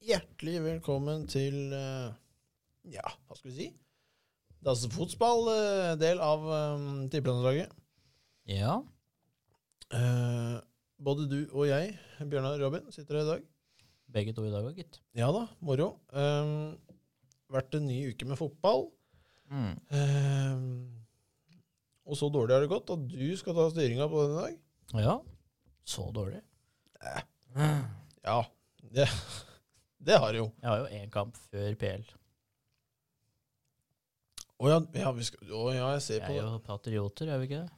Hjertelig velkommen til eh, Ja, hva skal vi si? Das fotball, eh, del av um, tippelandslaget. Ja. Eh, både du og jeg, Bjørnar og Robin, sitter her i dag. Begge to i dag òg, gitt. Ja da, moro. Um, vært en ny uke med fotball. Mm. Um, og så dårlig har det gått at du skal ta styringa på den i dag. Ja. Så dårlig. Jeg Ja, det, det har det jo. har jo én kamp før PL. Å ja, ja, vi skal, å, ja, jeg Vi ser på er det. jo patrioter, er vi ikke det?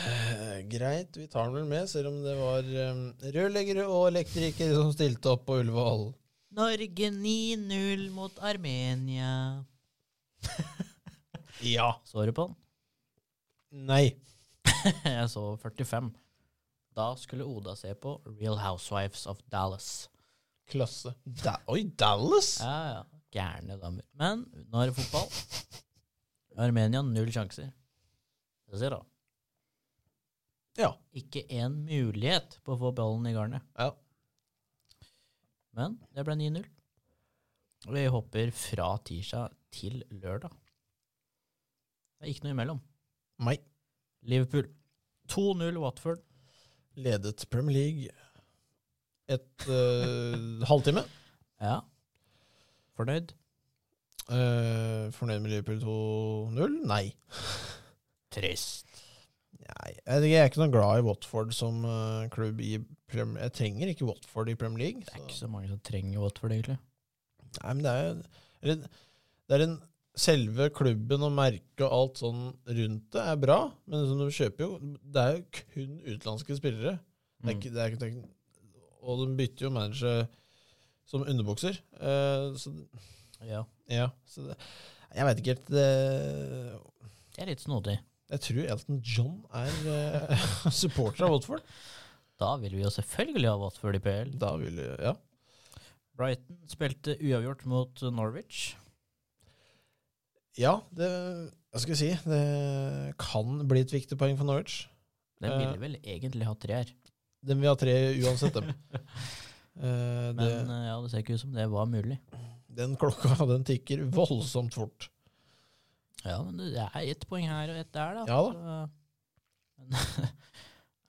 Eh, greit, vi tar den vel med, selv om det var um, rørleggere og elektrikere som stilte opp på Ullevål. Norge 9-0 mot Armenia. Ja. Så du på den? Nei. Jeg så 45. Da skulle Oda se på Real Housewives of Dallas. Klasse. Da Oi, Dallas! Ja, ja. Gærne damer. Men nå er det fotball. Armenia null sjanser. Det ser da. Ja. Ikke én mulighet på å få ballen i garnet. Ja. Men det ble 9-0. Og Vi hopper fra tirsdag til lørdag. Det er ikke noe imellom. Nei. Liverpool 2-0 Watford. Ledet Premier League et eh, halvtime. Ja. Fornøyd? Eh, fornøyd med Liverpool 2-0? Nei. Trist. Nei. Jeg jeg er ikke noe glad i Watford som eh, klubb i Prem- Jeg trenger ikke Watford i Premier League. Det så- er ikke så mange som trenger Watford, egentlig. Nei, men det er jo eller, Det er en Selve klubben og merket og alt sånn rundt det er bra, men som du kjøper jo Det er jo kun utenlandske spillere. Det er Mm. ikke, det er ikke, det er ikke, og de bytter jo manager som underbukser. Eh, så Mm. Ja. ja så det, Jeg veit ikke helt det, Det er litt snodig. Jeg tror Elton John er eh, supporter av Watford. Da vil vi jo selvfølgelig ha Watford i PL. Da vil jeg- Ja. Brighton spilte uavgjort mot Norwich. ja, det Hva skal jeg si? Det kan bli et viktig poeng for Norwich. Den Eh. ville vel egentlig ha tre her. Den vil ha tre uansett, dem. Eh, det, Men eh, ja, det ser ikke ut som det var mulig. den klokka den tikker voldsomt fort. Ja, men det er ett poeng her og ett der, da. Ja da. Så, men,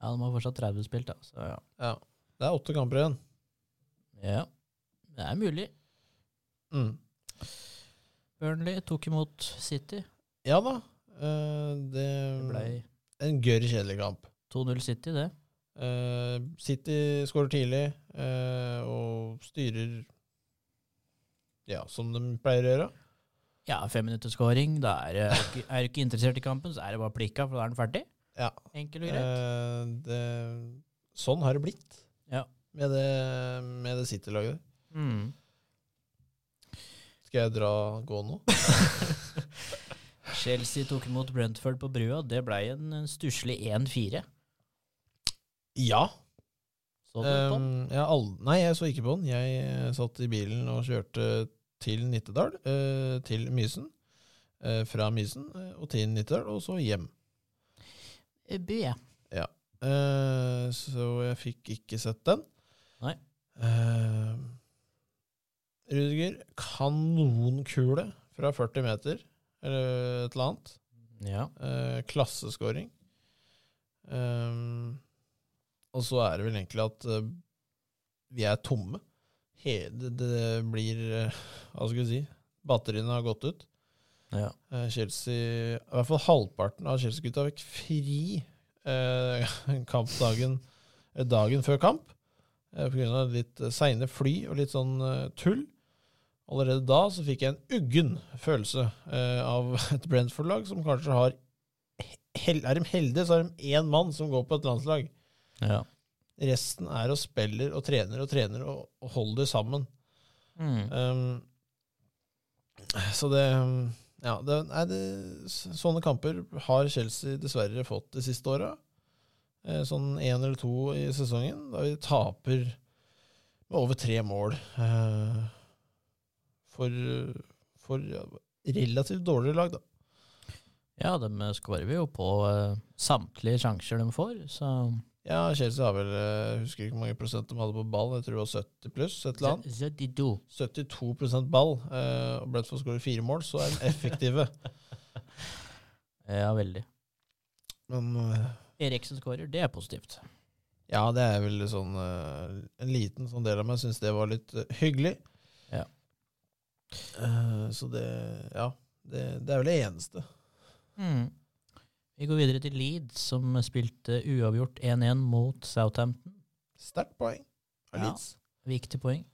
ja, de har fortsatt 30 spilt, da. Så ja. Ja. Det er åtte kamper igjen. ja. Det er mulig. Mm. Burnley tok imot City. Ja da. eh, det Det ble En gørr kjedelig kamp. 2-0 City, det. Eh, City skårer tidlig eh, og styrer ja, som de pleier å gjøre. Ja, femminutterskåring. Da er det- er du ikke, er du ikke interessert i kampen, så er det bare plikka, for da er den ferdig. Ja. Enkel og grei. Eh, det, sånn har det blitt Ja. med det, med det City-laget. Mm. Skal jeg dra gå nå? Chelsea tok imot Brentford på brua. Det ble en, en stusslig 1-4. Ja. Så du på den? Ehm, jeg har ald- nei, jeg så ikke på den. Jeg eh, satt i bilen og kjørte til Nittedal, eh, til Mysen. eh, fra Mysen eh, og til Nittedal, og så hjem. Eh, By, ja. Eh, så jeg fikk ikke sett den. Nei. Uh, Rudiger, kanonkule fra 40 meter, eller et eller annet. Ja. Eh, klasseskåring. Ehm, og så er det vel egentlig at eh, vi er tomme. He- det, det blir eh, Hva skal vi si? Batteriene har gått ut. ja. Eh, Chelsea I hvert fall halvparten av Chelsea-gutta fikk fri eh, kampdagen eh, dagen før kamp. Eh, på grunn av litt eh, seine fly og litt sånn eh, tull. Allerede da så fikk jeg en uggen følelse eh, av et Brentford-lag som kanskje har hel, Er de heldige, så har de én mann som går på et landslag. ja. Resten er og spiller og trener og trener og, og holder sammen. Mm. Um, så det um, Ja, det, nei, det, s- sånne kamper har Chelsea dessverra fått de siste åra. Eh, sånn én eller to i sesongen, da vi taper med over tre mål. Eh, for for ja, relativt dårligere lag, da. Ja, de skårer vi jo på eh, samtlige sjanser de får, så Ja, Chelsea har vel eh, Jeg husker ikke hvor mange prosent de hadde på ball. Jeg tror det var 70 pluss. et eller annet. 72. 72 ball. eh, Og Brentford skårer fire mål, så er de effektive. Ja, veldig. Men eh, Eriksen skårer, det er positivt. ja, det er vel sånn eh, En liten sånn del av meg syns det var litt eh, hyggelig. Ja. Eh, Så det Ja. Det, det er vel det eneste. Mm. Vi går videre til Leeds, som spilte uavgjort 1-1 mot Southampton. Sterkt poeng. av Ja. Leeds. Viktig poeng.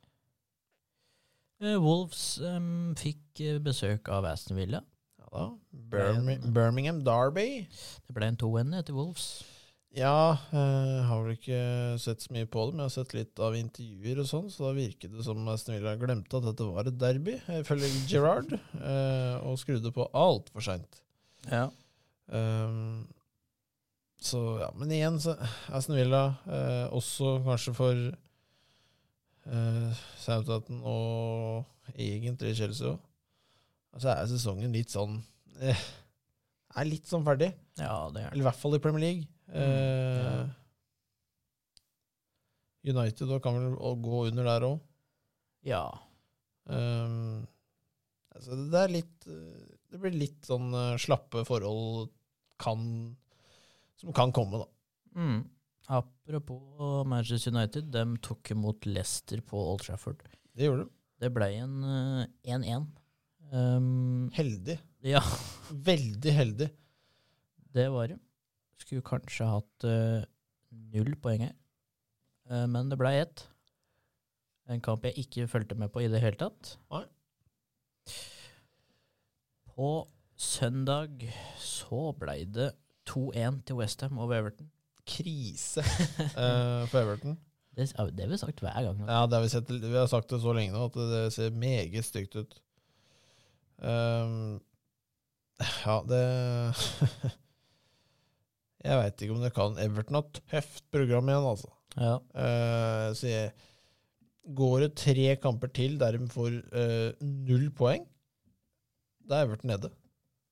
Eh, Wolves eh, fikk eh, besøk av Aston Villa. Ja da. Birmi- Birmingham Derby. Det ble en 2-1 etter Wolves. Ja, jeg har vel ikke sett så mye på det, men jeg har sett litt av intervjuer og sånn, så da virket det som Aston Villa glemte at dette var et derby, ifølge Gerrard, eh, og skrudde på altfor seint. Ja. Um, så ja, men igjen, så Aston Villa, eh, også kanskje for eh, Southampton og egentlig Chelsea òg, så er sesongen litt sånn eh, Er litt sånn ferdig. ja, det er det. Eller i hvert fall i Premier League. Eh, ja. United da kan vel å- gå under der òg. Ja. Um, altså det, det er litt eh, Det blir litt sånn eh, slappe forhold kan, som kan komme, da. Mm. Apropos Manchester United, de tok imot Leicester på Old Trafford. Det gjorde de. Det ble en eh, 1-1. Um, Heldig. ja, Veldig heldig. det var det. Skulle kanskje hatt eh, null poeng her, Eh, men det ble ett. En kamp jeg ikke fulgte med på i det hele tatt. Nei. På søndag så ble det 2-1 til Westham over Everton. Krise eh, for Everton. Det, det har vi sagt hver gang. nå. Ja, det har vi, sett, vi har sagt det så lenge nå at det ser meget stygt ut. Ehm, ja, det Jeg veit ikke om det kan Everton har tøft program igjen, altså. Ja. Eh, så jeg, går det tre kamper til der de får eh, null poeng, da er Everton nede.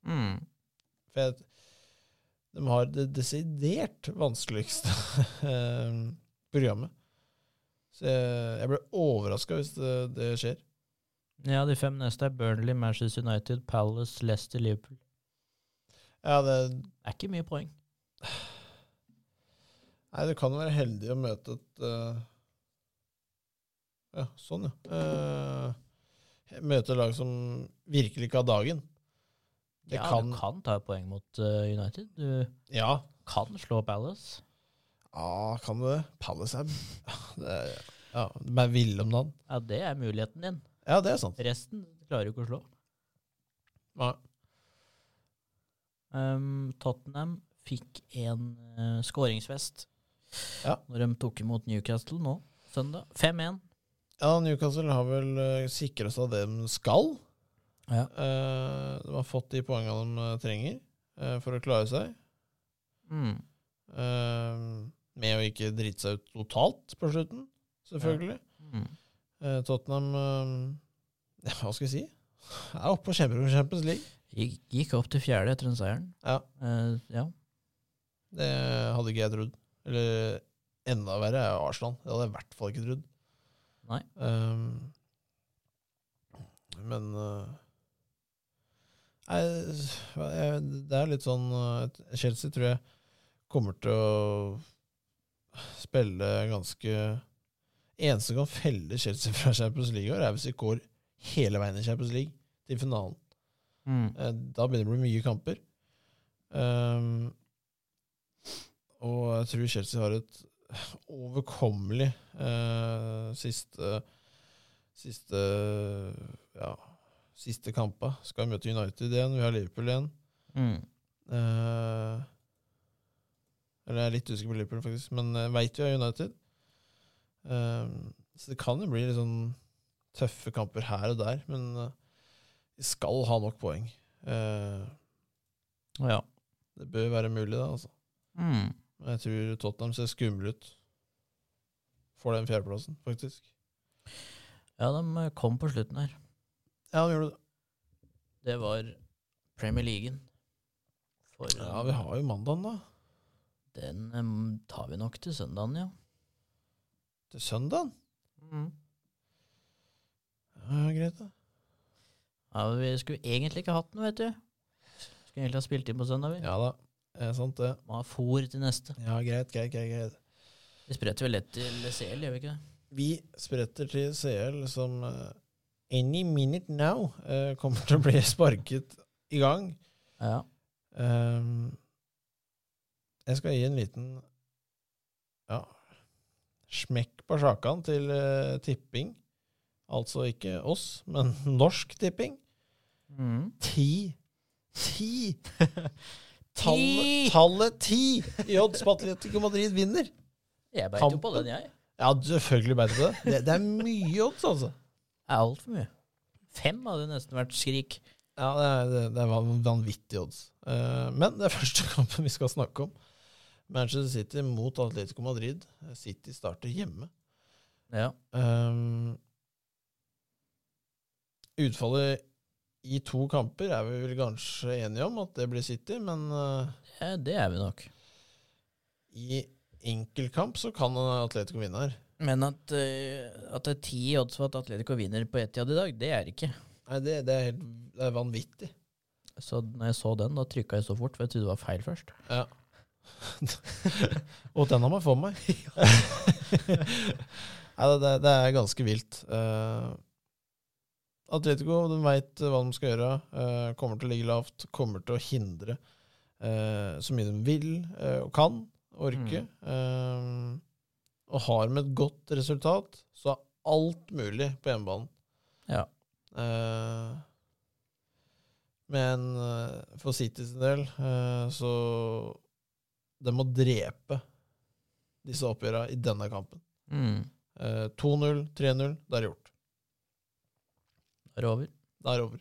Mm. For jeg, de har det desidert vanskeligste eh, programmet. Så jeg, jeg blir overraska hvis det, det skjer. Ja, de fem neste er Burnley, Manchester United, Palace, Leicester, Liverpool. Ja, det, Det er ikke mye poeng. nei, du kan jo være heldig å møte et eh, Ja, sånn, ja. Eh, møte lag som virkelig ikke har dagen. Det ja, kan- Du kan ta poeng mot eh, United. Du Ja, kan slå Palace. ja kan du det? Palace er, det er Ja, de er ville om dagen. Ja, Det er muligheten din. Ja, det er sant. Resten klarer du ikke å slå. Ja. Um, Tottenham fikk en eh, skåringsfest Ja. når de tok imot Newcastle nå, søndag. 5-1. Ja, Newcastle har vel uh, sikra seg det de skal. Ja. Eh, de har fått de poengene de eh, trenger eh, for å klare seg. Mm. Eh, med å ikke drite seg ut totalt på slutten, selvfølgelig. Mm. Eh, Tottenham eh, ja, Hva skal jeg si? Er oppe og kjemper om Champions League. Gikk, gikk opp til fjerde etter den seieren. Ja. Eh, ja. Det hadde ikke jeg trodd. Eller enda verre er jo Arsenal. Det hadde jeg i hvert fall ikke trodd. Nei. Ehm, men eh, nei, hva- jeg- Det er litt sånn eh, Chelsea tror jeg kommer til å spille ganske Eneste som kan felle Chelsea fra Champions League i år, er hvis de går hele veien i Champions League til finalen. Mm. Eh, Da begynner det å bli mye kamper. Ehm, og jeg tror Chelsea har et overkommelig eh, siste Siste ja, siste kampa. Skal møte United igjen, vi har Liverpool igjen. Mm. Eh, eller jeg er litt usikker på Liverpool, faktisk, men jeg veit vi har United. Ehm, så det kan jo bli litt sånn tøffe kamper her og der, men eh, vi skal ha nok poeng. Eh, Ja. det bør være mulig, da. altså. Mm. Men jeg tror Tottenham ser skumle ut. Får den fjerdeplassen, faktisk. ja, de eh, kom på slutten her. Ja, de gjorde det. Det var Premier League. For, eh, Ja, Vi har jo mandagen, da. Den em, tar vi nok til søndagen, ja. Til søndag? Mm. Ja, greit, da. ja. Vi skulle egentlig ikke hatt den, vet du. Skulle egentlig ha spilt inn på søndag, vi. Ja da. Eh, sant, det. Må ha fôr til neste. Ja, greit, greit, greit. greit. Vi spretter vel lett til CL, gjør vi ikke det? Vi spretter til CL som eh, any minute now eh, kommer til å bli sparket i gang. Ja. Ehm, jeg skal gi en liten ja, smekk på sjakan til eh, tipping. Altså ikke oss, men norsk tipping. Ti. Ti! Tallet, tallet ti i odds på Atletico Madrid vinner. Jeg beit jo på Kampen. den, jeg. Ja, selvfølgelig beit du på det. det. Det er mye odds, altså. Altfor mye. Fem hadde nesten vært skrik. Ja, det er, det, det er van- vanvittige odds. Eh, men det er første kampen vi skal snakke om. Manchester City mot Atletico Madrid. City starter hjemme. Ja. Ehm, utfallet i to kamper er vi vel kanskje enige om at det blir City, men eh, ja, det er vi nok. i enkeltkamp så kan Atletico vinne her. Men at, eh, at det er ti i odds for at Atletico vinner på Etiad i dag, det er det ikke. Nei, det, det, er helt, det er vanvittig. Så når jeg så den, da trykka jeg så fort, for jeg trodde det var feil først. Ja. Og den har man for meg. Nei, det, det er ganske vilt. Eh, Atletico de veit hva de skal gjøre. eh, kommer til å ligge lavt. Kommer til å hindre eh, så mye de vil eh, og kan orke. Eh, og har med et godt resultat, så er alt mulig på hjemmebanen. Ja. Eh, men eh, for City sin del, eh, så De må drepe disse oppgjørene i denne kampen. Mm. Eh, 2-0, 3-0, det er gjort. Det er over. Det er over.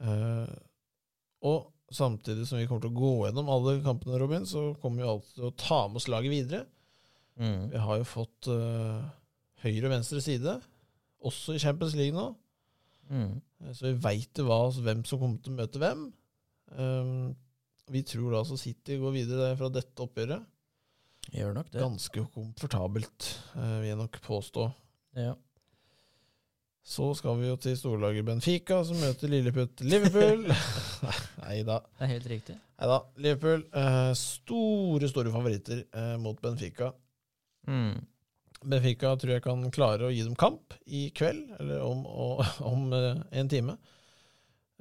Eh, og samtidig som vi kommer til å gå gjennom alle kampene, Robin, så kommer vi alltid til å ta med oss laget videre. Mm. Vi har jo fått eh, høyre og venstre side, også i Champions League nå. Mm. Eh, Så vi veit jo hva- hvem som kommer til å møte hvem. Eh, vi tror da altså City går videre fra dette oppgjøret. Gjør nok det. Ganske komfortabelt, eh, vil jeg nok påstå. Ja. Så skal vi jo til storlaget Benfica, som møter lilleputt Liverpool. Nei da. Det er helt riktig. Nei da. Liverpool, eh, store, store favoritter eh, mot Benfica. Mm. Benfica tror jeg kan klare å gi dem kamp i kveld, eller om, og, om eh, en time.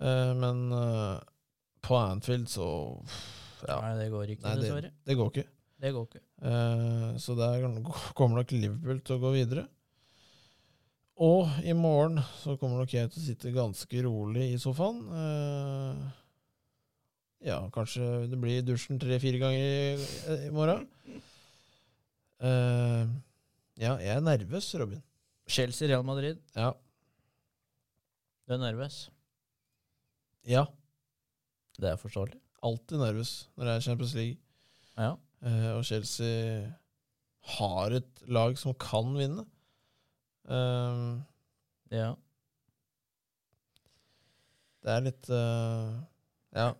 Eh, men eh, på Anfield så ja, Nei, det går ikke, Nei, det- dessverre. det går ikke. Det går ikke. Eh, så der kan- kommer nok Liverpool til å gå videre. Og i morgen så kommer nok jeg til å sitte ganske rolig i sofaen. Eh, ja, kanskje det blir i dusjen tre-fire ganger i, i morgen. Eh, ja, jeg er nervøs, Robin. Chelsea, Real Madrid, Ja. du er nervøs. ja Det er forståelig. alltid nervøs når det er Champions League. Ja. Eh, og Chelsea har et lag som kan vinne. Eh, ja. Det er litt eh, Ja.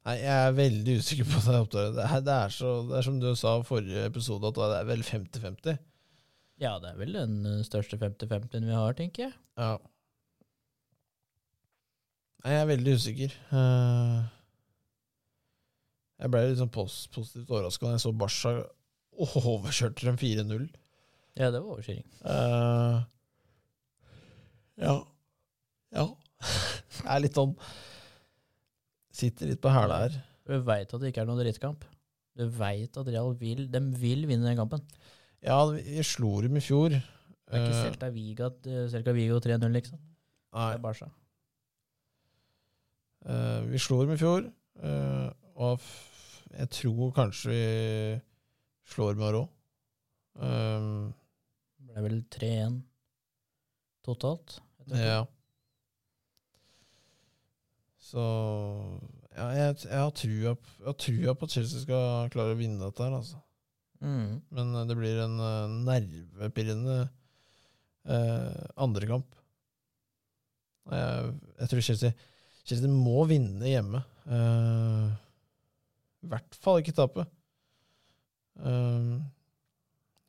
Nei, jeg er veldig usikker på det oppdraget. Det er, det er, så, det er som du sa i forrige episode, at det er vel 50-50. Ja, det er vel den eh, største 50-50-en vi har, tenker jeg. Ja. Nei, jeg er veldig usikker. Eh, jeg ble litt sånn pos positivt overraska da jeg så Barca overkjørte dem 4-0. Ja, det var overkjøring. Eh, ja. Ja. Jeg er litt sånn Sitter litt på hæla her. Du veit at det ikke er noen drittkamp. Du veit at Real vil, de vil vinne den kampen. Ja, vi slo dem i fjor. Det er ikke Eh, Celta Vigo, Celta Vigo 3-0, liksom. Det er nei, Barca. eh, vi slo dem i fjor, eh, og f jeg tror kanskje vi slår dem i år òg. Um, Det ble vel 3-1 totalt. etter hvert. ja. Så ja, jeg, jeg har trua p- jeg har trua på at Chelsea skal klare å vinne dette her, altså. Mm. Men eh, det blir en eh, nervepirrende eh, andrekamp. Jeg, jeg tror Chelsea, Chelsea må vinne hjemme. Eh, I hvert fall ikke tape. Um,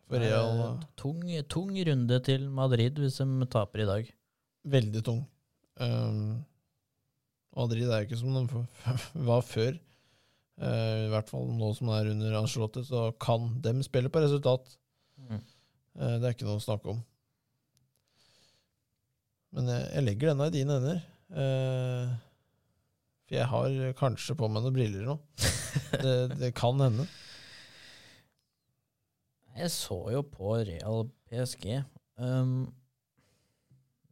for Det er Real en Tung, tung runde til Madrid hvis de taper i dag. veldig tung. Um, Madrid er jo ikke som de f- var før. Eh, I hvert fall nå som det er under Ancelotti, så kan dem spille på resultat. Mm. Eh, Det er ikke noe å snakke om. Men jeg, jeg legger denne i dine hender. Eh, for jeg har kanskje på meg noen briller nå. Det, det kan hende. Jeg så jo på Real PSG. Um,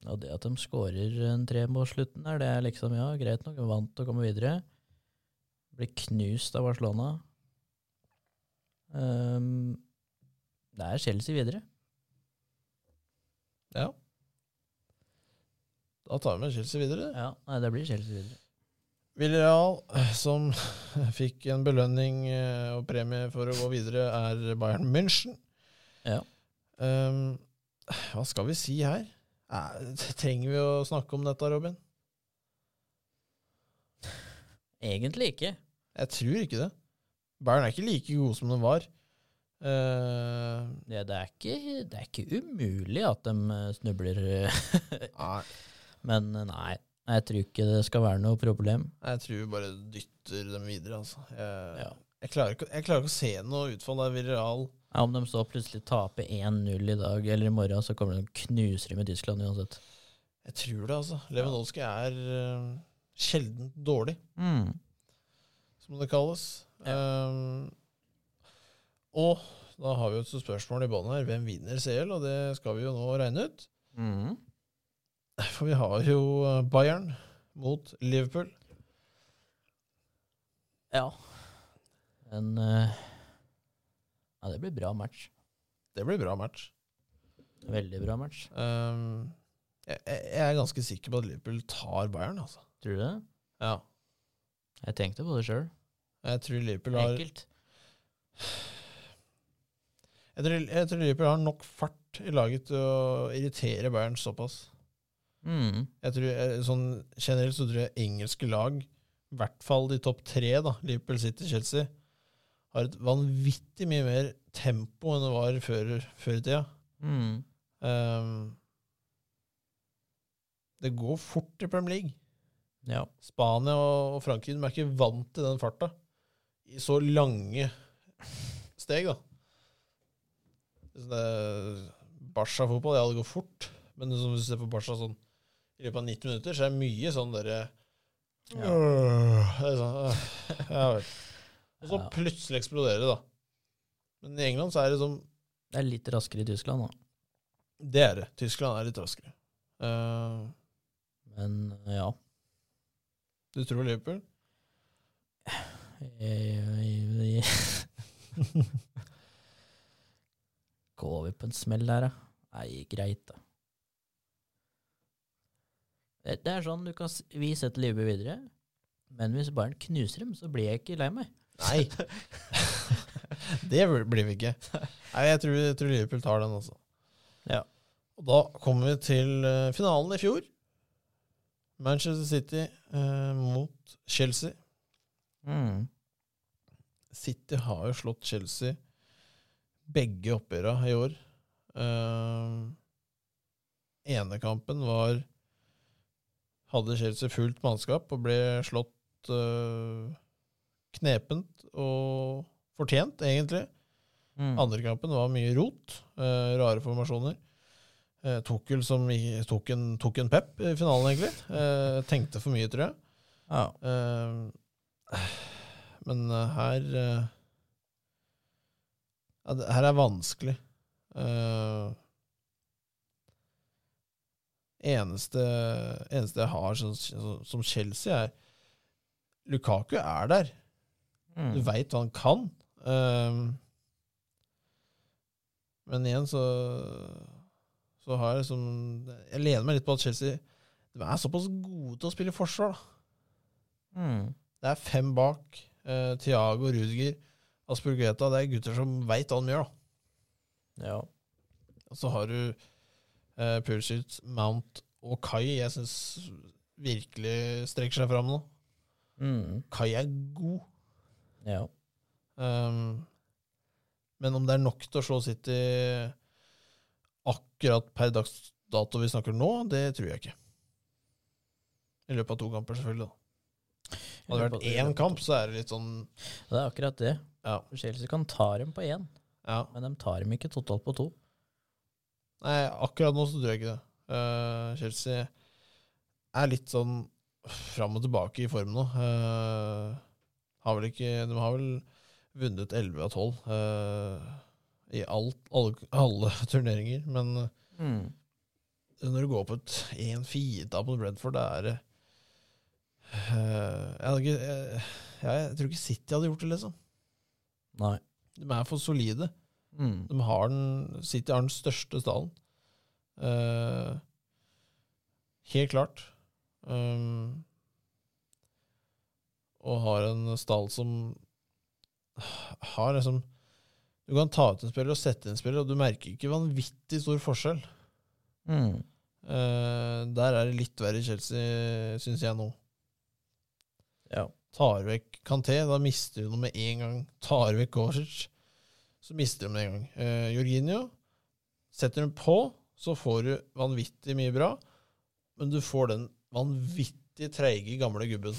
og det at de skårer en tre mot slutten der, det er liksom ja, greit nok. De Vant å komme videre. Blir knust av Barcelona. Um, det er Chelsea videre. Ja. Da tar vi med Chelsea videre. Ja, nei, det blir Chelsea videre. Villarreal, eh, som fikk en belønning eh, og premie for å gå videre, er Bayern München. Ja. Ehm, hva skal vi si her? Eh, Trenger vi å snakke om dette, Robin? Egentlig ikke. Jeg tror ikke det. Bayern er ikke like gode som de var. Eh, Det, det, er, ikke, det er ikke umulig at de eh, snubler, nei, men eh, nei. Jeg tror ikke det skal være noe problem. jeg tror vi bare dytter dem videre, altså. Jeg, Ja. jeg, klarer, ikke, jeg klarer ikke å se noe utfall der Villarreal Ja, Om de så plutselig taper 1-0 i dag eller i morgen, så kommer de og knuser dem i Tyskland uansett. Jeg tror det, altså. Lewandowski er uh, sjelden dårlig, Mm. som det kalles. Eh, og da har vi jo et spørsmål i bånn her. Hvem vinner CL? Og det skal vi jo nå regne ut. Mm. For vi har jo eh, Bayern mot Liverpool. Ja. En eh, Ja, det blir bra match. Det blir bra match. Veldig bra match. Um, jeg, jeg jeg er ganske sikker på at Liverpool tar Bayern, altså. Tror du det? Ja. Jeg tenkte på det sjøl. Jeg tror Liverpool har, jeg Enkelt. tror, jeg tror Liverpool har nok fart i laget til å irritere Bayern såpass. Mm. Jeg tror, eh, sånn, generelt så tror jeg engelske lag, i hvert fall de topp tre, da, Liverpool, City, Chelsea, har et vanvittig mye mer tempo enn det var før, før i tida. Mm. Um, det går fort i Premier League. Ja. Spania og og Frankrike de er ikke vant til den farta i så lange steg, da. Så det Barca-fotball, ja, det går fort, men som du ser på Barca sånn i løpet av 90 minutter, så er det mye sånn derre Ja. Øh, det er sånn, øh, ja vel. Og så Ja. plutselig eksploderer det, da. Men i England så er det sånn Det er litt raskere i Tyskland, da. Det er det. Tyskland er litt raskere. Eh, Men eh, ja. du tror Liverpool? Jeg- jeg- jeg- Går vi på en smell her, da? Nei, greit, da. Det det er sånn du kan s- Vi setter livet videre, men hvis Bayern knuser dem, så blir jeg ikke lei meg. Nei. det blir vi ikke. Nei, jeg tror, jeg tror Liverpool tar den, altså. Ja. Og da kommer vi til eh, finalen i fjor. Manchester City eh, mot Chelsea. Mm. City har jo slått Chelsea begge oppgjøra i år. Uh, ene kampen var Hadde Chelsea fullt mannskap og ble slått eh, knepent og fortjent, egentlig. Mm. Andre kampen var mye rot, eh, rare formasjoner. Uh, Tukkel som i- tok en, tok en pep i finalen, egentlig. Eh, tenkte for mye, tror jeg. Ja. Eh, Men eh, her eh, ja, det- Her er vanskelig. Eh, eneste, eneste jeg har som, som Chelsea, er Lukaku er der. Mm. Du veit hva han kan. Eh, men igjen så Så har jeg liksom Jeg lener meg litt på at Chelsea De er såpass gode til å spille forsvar, da. Mm. Det er fem bak. Eh, Thiago, Rudiger, Aspergueta. Det er gutter som veit hva de gjør. da. Ja. Og så har du eh, Pulisic, Mount og Kai. Jeg syns virkelig strekker seg fram nå. Mm. Kai er god. ja. Um, Ehm, Men om det er nok til å slå City akkurat per dags dato vi snakker nå, det tror jeg ikke. I løpet av to kamper, selvfølgelig. da. Hadde det vært I løpet av- én kamp, så er det litt sånn Det er akkurat det. Ja. Chelsea kan ta dem på én, ja. men de tar dem ikke totalt på to. Nei, akkurat nå så tror jeg ikke det. Eh, Chelsea er litt sånn fram og tilbake i form nå. Eh, har vel ikke De har vel vunnet 11 av 12 eh, i alt, alle, alle turneringer, men eh, når du går på et 1-4-tap mot Bredford, da er det eh, jeg, hadde ikke, jeg, jeg tror ikke City hadde gjort det, liksom. Nei. De er for solide. Mm. De har den, City har den største stallen. Eh, helt klart. Um, og har en stall som har liksom Du kan ta ut en spiller og sette inn en spiller, og du merker ikke vanvittig stor forskjell. Mm. Eh, der er det litt verre i Chelsea, syns jeg nå. Ja. Tar vekk Kanté, da mister du noe med en gang. Tar vekk Kovacic, så mister du med en gang. Eh, Jorginho setter den på, så får du vanvittig mye bra, men du får den vanvittig treige gamle gubben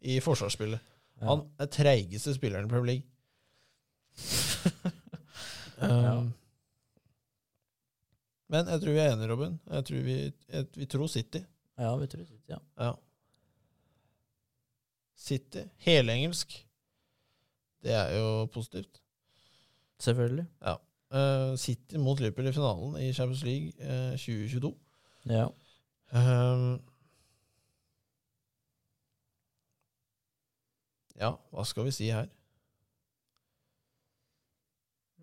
i forsvarsspillet. Ja. Han er treigeste spilleren i Premier League. Ja. Um, Men jeg tror vi er enige, Robin. Jeg tror vi, jeg, vi tror City. ja, vi tror City, ja. Ja. City, helengelsk. Det er jo positivt. Selvfølgelig. Eh, City mot Liverpool i finalen i Champions League eh, 2022. Ja. Ehm. ja, hva skal vi si her?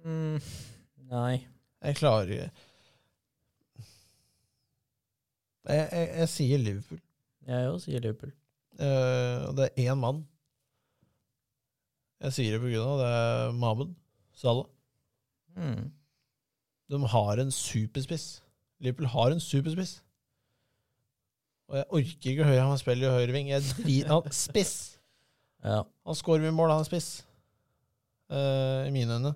Mm. Nei. Jeg klarer jeg, jeg, jeg sier Liverpool. Jeg òg sier Liverpool. Eh, og det er én mann. Jeg sier det på grunn av det er Mahmoud Salah. Mm. De har en superspiss. Liverpool har en superspiss. Og jeg orker ikke å høre han spille i høyreving. Jeg driter han spiss! Ja. Han scorer mye mål, han er spiss. Eh, I mine øyne.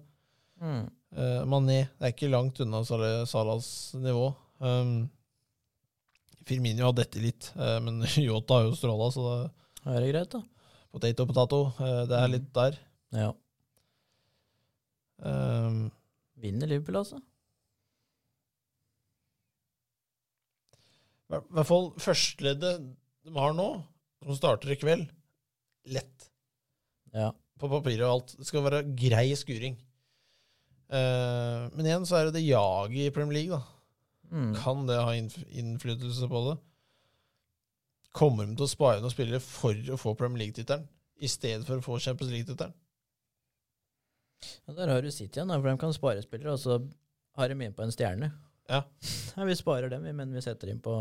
Mm. Eh, Mané det er ikke langt unna Sal- Salas nivå. Um, Firmino har dette litt, eh, men Yota har jo stråla, så det Da er det greit, da. er potato potato. Eh, det er litt der. Ja. Um, Vinner Liverpool, altså. I hvert fall førsteleddet de har nå, som starter i kveld, lett. Ja. på papiret og alt. Det skal være grei skuring. Eh, men igjen så er det det jaget i Premier League, da. Mm. Kan det ha innf innflytelse på det? Kommer de til å spare noen spillere for å få Premier League-tittelen, i stedet for å få Champions League-tittelen? Ja, der har du City igjen, da, for de kan spare spillere, og så har de inn på en stjerne. Ja. ja. Vi sparer dem, vi, men vi setter inn på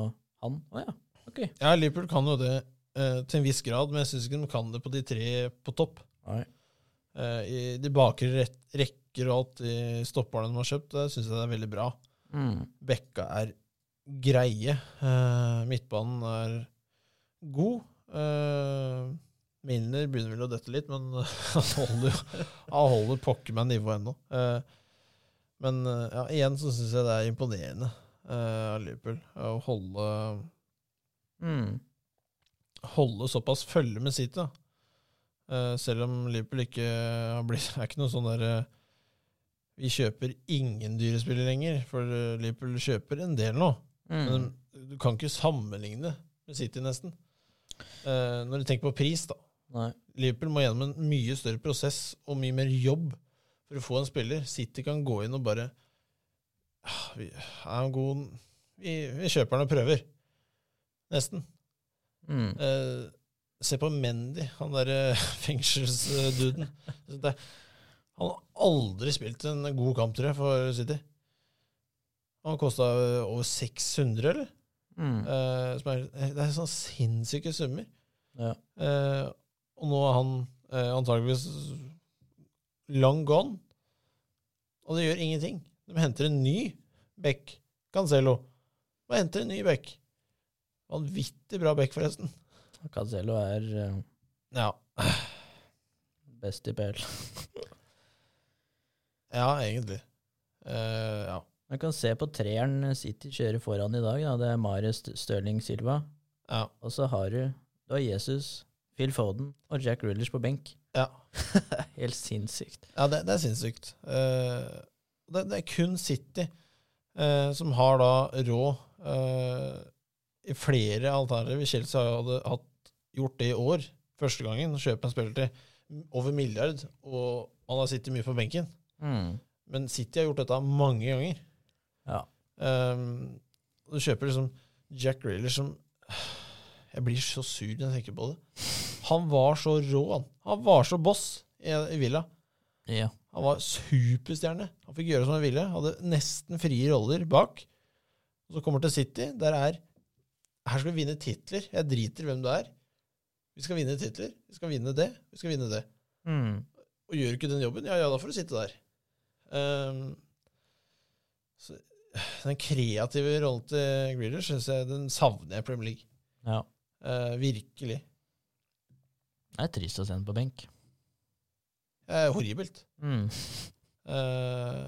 han. Å ja. Ok. Ja, Liverpool kan jo det eh, til en viss grad, men jeg syns ikke de kan det på de tre på topp. Nei. Eh, I de bakre rett- rekker og alt i stopperne de har kjøpt, det syns jeg det er veldig bra. Mm. Bekka er greie. Eh, midtbanen er god. Uh, Milner begynner vel å dette litt, men han holder, jo- han holder pokker meg nivået ennå. Eh, men eh, ja, igjen så syns jeg det er imponerende eh, av Liverpool å holde, Mm. holde såpass følge med City. da. Eh, selv om Liverpool ikke har blitt Det er ikke noe sånn der eh, Vi kjøper ingen dyre spillere lenger, for eh, Liverpool kjøper en del nå. Men Mm. du kan ikke sammenligne med City, nesten. Eh, når du tenker på pris, da. Nei. Liverpool må gjennom en mye større prosess og mye mer jobb for å få en spiller. City kan gå inn og bare «Ah, vi, er han god? Vi, vi kjøper han og prøver. Nesten. Mm. Eh, se på Mendy, han derre fengselsduden. Det- Han har aldri spilt en god kamp, tror jeg, for City. Han kosta over 600, eller? Mm. Eh, som er, det er sånn sinnssyke summer. Ja. Eh, og nå er han eh, antageligvis long gone. Og det gjør ingenting. De henter en ny back, Cancelo. Og henter en ny back. Vanvittig bra back, forresten. Cancelo er eh, Ja. best i PL. Ja, egentlig. Eh, ja. Man kan se på treeren City kjører foran i dag. Da. Det er Marius Stirling Silva. ja. Og så har du, du har Jesus, Phil Foden og Jack Rillers på benk. Ja. Helt sinnssykt. Ja, det, det er sinnssykt. Eh, det, det er kun City eh, som har da råd eh, i flere alternativer. Chelsea har jo hadde hatt, gjort det i år, første gangen, å kjøpe en spiller til over milliard, og man har sittet mye på benken. Men City har gjort dette mange ganger. Ja. Ehm, og du kjøper liksom Jack Reeler som Jeg blir så sur når jeg tenker på det. Han var så rå, han. Han var så boss i, i Villa. ja. Han var superstjerne. Han fikk gjøre som han ville. Hadde nesten frie roller bak. Og så kommer til City. Der er Her skal vi vinne titler. Jeg driter hvem du er. Vi skal vinne titler. Vi skal vinne det. Vi skal vinne det. Og gjør du ikke den jobben, ja ja, da får du sitte der. Ehm, så, den kreative rollen til Grealish syns jeg den savner jeg i Premier League. ja. Eh, virkelig. Det er trist å se ham på benk. Det er horribelt. Eh,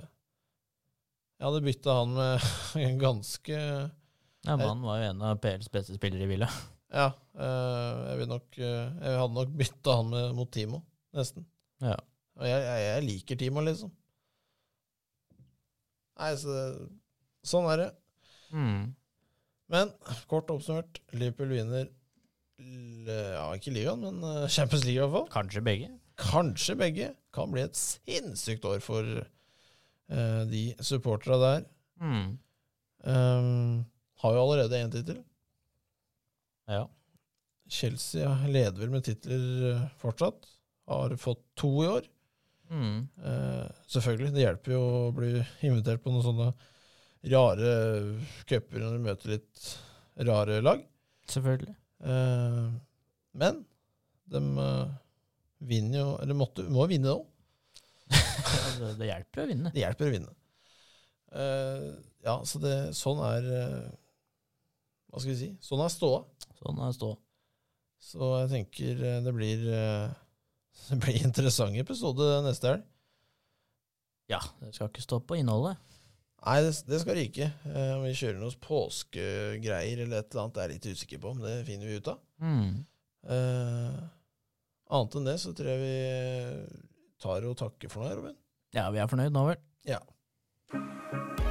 jeg hadde bytta han med en ganske Ja, Mannen var jo en av PLs beste spillere i Villa. Ja, eh, jeg, vil nok, eh, jeg hadde nok bytta han med, mot Timo, nesten. Ja. Og jeg, jeg, jeg liker Timo, liksom. Nei, så det- Sånn er det. Men kort oppsummert, Liverpool vinner l- ja, ikke ligaen, men eh, Champions League i hvert fall. Kanskje begge. Kanskje begge. Kan bli et sinnssykt år for eh, de supportera der. Ehm, har jo allerede én tittel. Ja. Chelsea leder vel med titler eh, fortsatt. Har fått to i år. Eh, selvfølgelig, det hjelper jo å bli invitert på noen sånne rare cuper når du møter litt rare lag. Selvfølgelig. Eh, men de eh, vinner jo Eller måtte, må vinne nå. det, Altså, det hjelper å vinne. Det hjelper å vinne. Eh, ja, så det, sånn er eh, Hva skal vi si? Sånn er ståa. Sånn er stå. Så jeg tenker eh, det blir eh, Det blir interessant episode neste helg. Ja, det skal ikke stå på innholdet. Nei, det, det skal ryke. Eh, Om vi kjører noen påskegreier eller et eller annet, det er jeg litt usikker på, men det finner vi ut av. Eh, annet enn det så tror jeg vi tar og takker for nå, Robin. Ja, vi er fornøyd nå, vel? Ja.